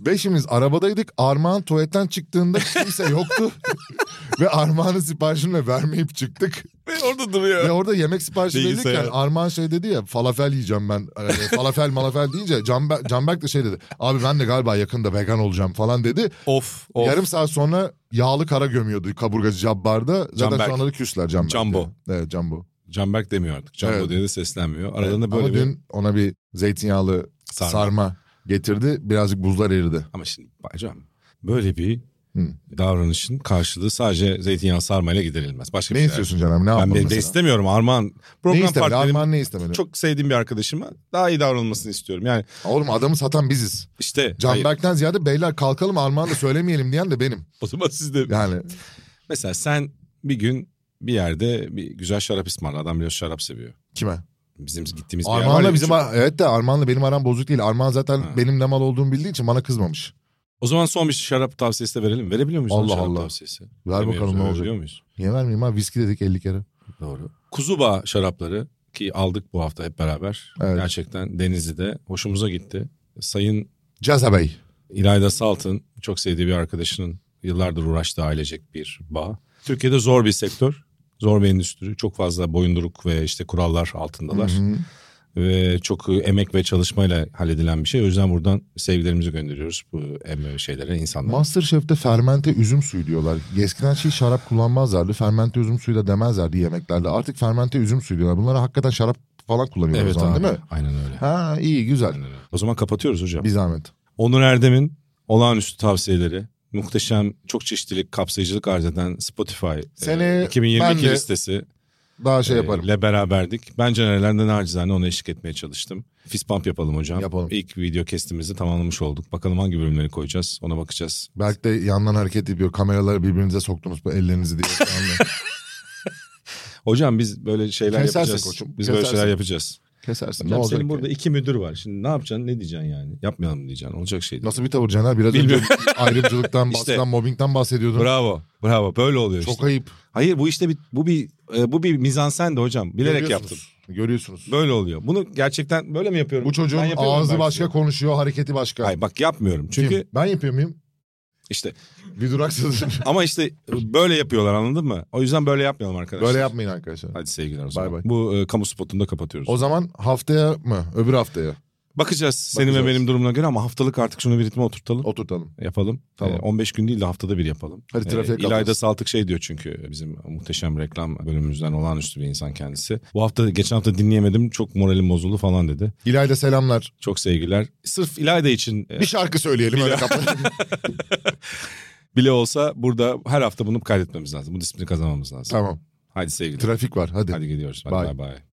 S3: Beşimiz arabadaydık. Armağan tuvaletten çıktığında kimse yoktu. ve Armağan'ın siparişini de vermeyip çıktık.
S2: Ve Orada
S3: Ve
S2: duruyor.
S3: orada yemek siparişi
S2: Bilgisayar.
S3: verirken Armağan şey dedi ya falafel yiyeceğim ben. Ee, falafel malafel deyince Canberk, Canberk de şey dedi. Abi ben de galiba yakında vegan olacağım falan dedi.
S2: Of of.
S3: Yarım saat sonra yağlı kara gömüyordu kaburgacı Cabbar'da. Zaten
S2: Canberk.
S3: şu anları küsler Canberk.
S2: Cambo.
S3: Evet Cambo.
S2: Canberk demiyor artık. Canbo
S3: Evet.
S2: diye de seslenmiyor. Aralarında
S3: Evet,
S2: böyle
S3: Ama
S2: bir
S3: dün ona bir zeytinyağlı
S2: sarma.
S3: sarma. getirdi. Birazcık buzlar eridi.
S2: Ama şimdi hocam böyle bir
S3: Hı.
S2: davranışın karşılığı sadece zeytinyağı sarmayla giderilmez. Başka bir
S3: Ne
S2: şey
S3: istiyorsun canım? Ne yapalım
S2: Ben de, de
S3: mesela?
S2: istemiyorum Armağan.
S3: ne
S2: Program
S3: istemedi?
S2: partnerim
S3: Armağan ne istemedi?
S2: çok sevdiğim bir arkadaşıma daha iyi davranılmasını istiyorum. Yani
S3: Oğlum adamı satan biziz.
S2: işte hayır,
S3: Canberk'ten ziyade beyler kalkalım Armağan'ı söylemeyelim diyen de benim.
S2: o zaman siz de
S3: Yani
S2: mesela sen bir gün bir yerde bir güzel şarap ısmarla. Adam biliyor şarap seviyor.
S3: kime?
S2: Bizim gittiğimiz bir yer var ya,
S3: Armağan'la bizim...
S2: çok-
S3: Evet de Armağan'la benim aram bozuk değil. Armağan zaten
S2: Ha.
S3: benim ne mal olduğumu bildiği için bana kızmamış.
S2: O zaman son bir şarap tavsiyesi de verelim. Verebiliyor muyuz? lan
S3: Allah
S2: şarap
S3: Allah.
S2: Tavsiyesi?
S3: Ver
S2: Demiyoruz,
S3: bakalım ne
S2: öyle
S3: olacak.
S2: biliyor muyuz?
S3: Niye vermeyeyim abi? Viski dedik 50 kere.
S2: Doğru. Kuzuba şarapları ki aldık bu hafta hep beraber.
S3: Evet.
S2: Gerçekten Denizli'de hoşumuza gitti. Sayın
S3: Caza Bey.
S2: İlayda Salt'ın çok sevdiği bir arkadaşının yıllardır uğraştığı ailecek bir bağ. Türkiye'de zor bir sektör. Zor bir endüstri. Çok fazla boyunduruk ve işte kurallar altındalar.
S3: Hı hı.
S2: Ve çok e, emek ve çalışmayla halledilen bir şey. O yüzden buradan sevgilerimizi gönderiyoruz bu em- şeylere, insanlara.
S3: Masterchef'te fermente üzüm suyu diyorlar. Eskiden şey şarap kullanmazlardı. Fermente üzüm suyu da demezlerdi yemeklerde. Artık fermente üzüm suyu diyorlar. Bunlara hakikaten şarap falan kullanıyorlar o
S2: Evet
S3: zaman
S2: abi.
S3: değil mi?
S2: Aynen öyle.
S3: Ha iyi güzel.
S2: O zaman kapatıyoruz hocam.
S3: Bir zahmet.
S2: Onur Erdem'in olağanüstü tavsiyeleri, muhteşem çok çeşitlilik, kapsayıcılık arz eden Spotify
S3: Seni
S2: e, 2022
S3: ben de
S2: listesi
S3: Daha
S2: e,
S3: şey yaparım.
S2: ile beraberdik. Ben Caner'lerden acizane ona eşlik etmeye çalıştım. Fist bump yapalım hocam.
S3: Yapalım.
S2: İlk video kestimizi tamamlamış olduk. Bakalım hangi bölümleri koyacağız ona bakacağız.
S3: Belki de yandan hareket ediyor. Kameraları birbirinize soktunuz bu ellerinizi diye.
S2: Hocam biz böyle şeyler
S3: Kesersin
S2: yapacağız.
S3: koçum,
S2: Biz böyle
S3: kesersin.
S2: şeyler yapacağız.
S3: Kesersin. Ne
S2: Hocam
S3: olacak
S2: senin burada
S3: yani?
S2: iki müdür var. Şimdi ne yapacaksın ne diyeceksin yani? Yapmayalım diyeceksin. Olacak şey değil.
S3: Nasıl bir tavır Caner? Biraz
S2: Bilmiyorum.
S3: önce ayrımcılıktan,
S2: İşte.
S3: baskıdan, mobbingden bahsediyordun.
S2: Bravo. Bravo. Böyle oluyor
S3: Çok
S2: işte.
S3: ayıp.
S2: Hayır bu işte bir bu bir e, bu bir mizansen de hocam. Bilerek
S3: Görüyorsunuz.
S2: yaptım.
S3: Görüyorsunuz.
S2: Böyle oluyor. Bunu gerçekten böyle mi yapıyorum?
S3: Bu
S2: Ben
S3: çocuğun
S2: yapıyorum
S3: ağzı
S2: belki.
S3: başka, konuşuyor, hareketi başka.
S2: Hayır bak yapmıyorum. Çünkü
S3: Kim? Ben yapıyor muyum?
S2: işte
S3: Bir duraksadım.
S2: ama işte böyle yapıyorlar anladın mı? O yüzden böyle yapmayalım arkadaşlar.
S3: Böyle yapmayın arkadaşlar.
S2: Hadi sevgiler o zaman.
S3: Bay bay.
S2: Bu e, kamu spotunu da kapatıyoruz.
S3: O zaman haftaya mı? Öbür haftaya
S2: Bakacağız senin ve
S3: Bakacağız.
S2: benim durumuna göre ama haftalık artık şunu bir ritme oturtalım.
S3: oturtalım.
S2: Yapalım.
S3: Tamam.
S2: E, 15 gün değil de haftada bir yapalım.
S3: Hadi trafiğe
S2: E, İlayda
S3: kalkarız.
S2: Saltık şey diyor çünkü bizim muhteşem reklam bölümümüzden olağanüstü bir insan kendisi. Bu hafta geçen hafta dinleyemedim çok moralim bozuldu falan dedi.
S3: İlayda selamlar.
S2: Çok sevgiler. Sırf İlayda için e,
S3: Bir şarkı söyleyelim öyle kapatalım. şey-
S2: bile olsa burada her hafta bunu kaydetmemiz lazım. Bu disiplini kazanmamız lazım.
S3: tamam.
S2: Hadi sevgiler.
S3: Trafik var. Hadi.
S2: Hadi gidiyoruz. Hadi
S3: Bye.
S2: bay bay.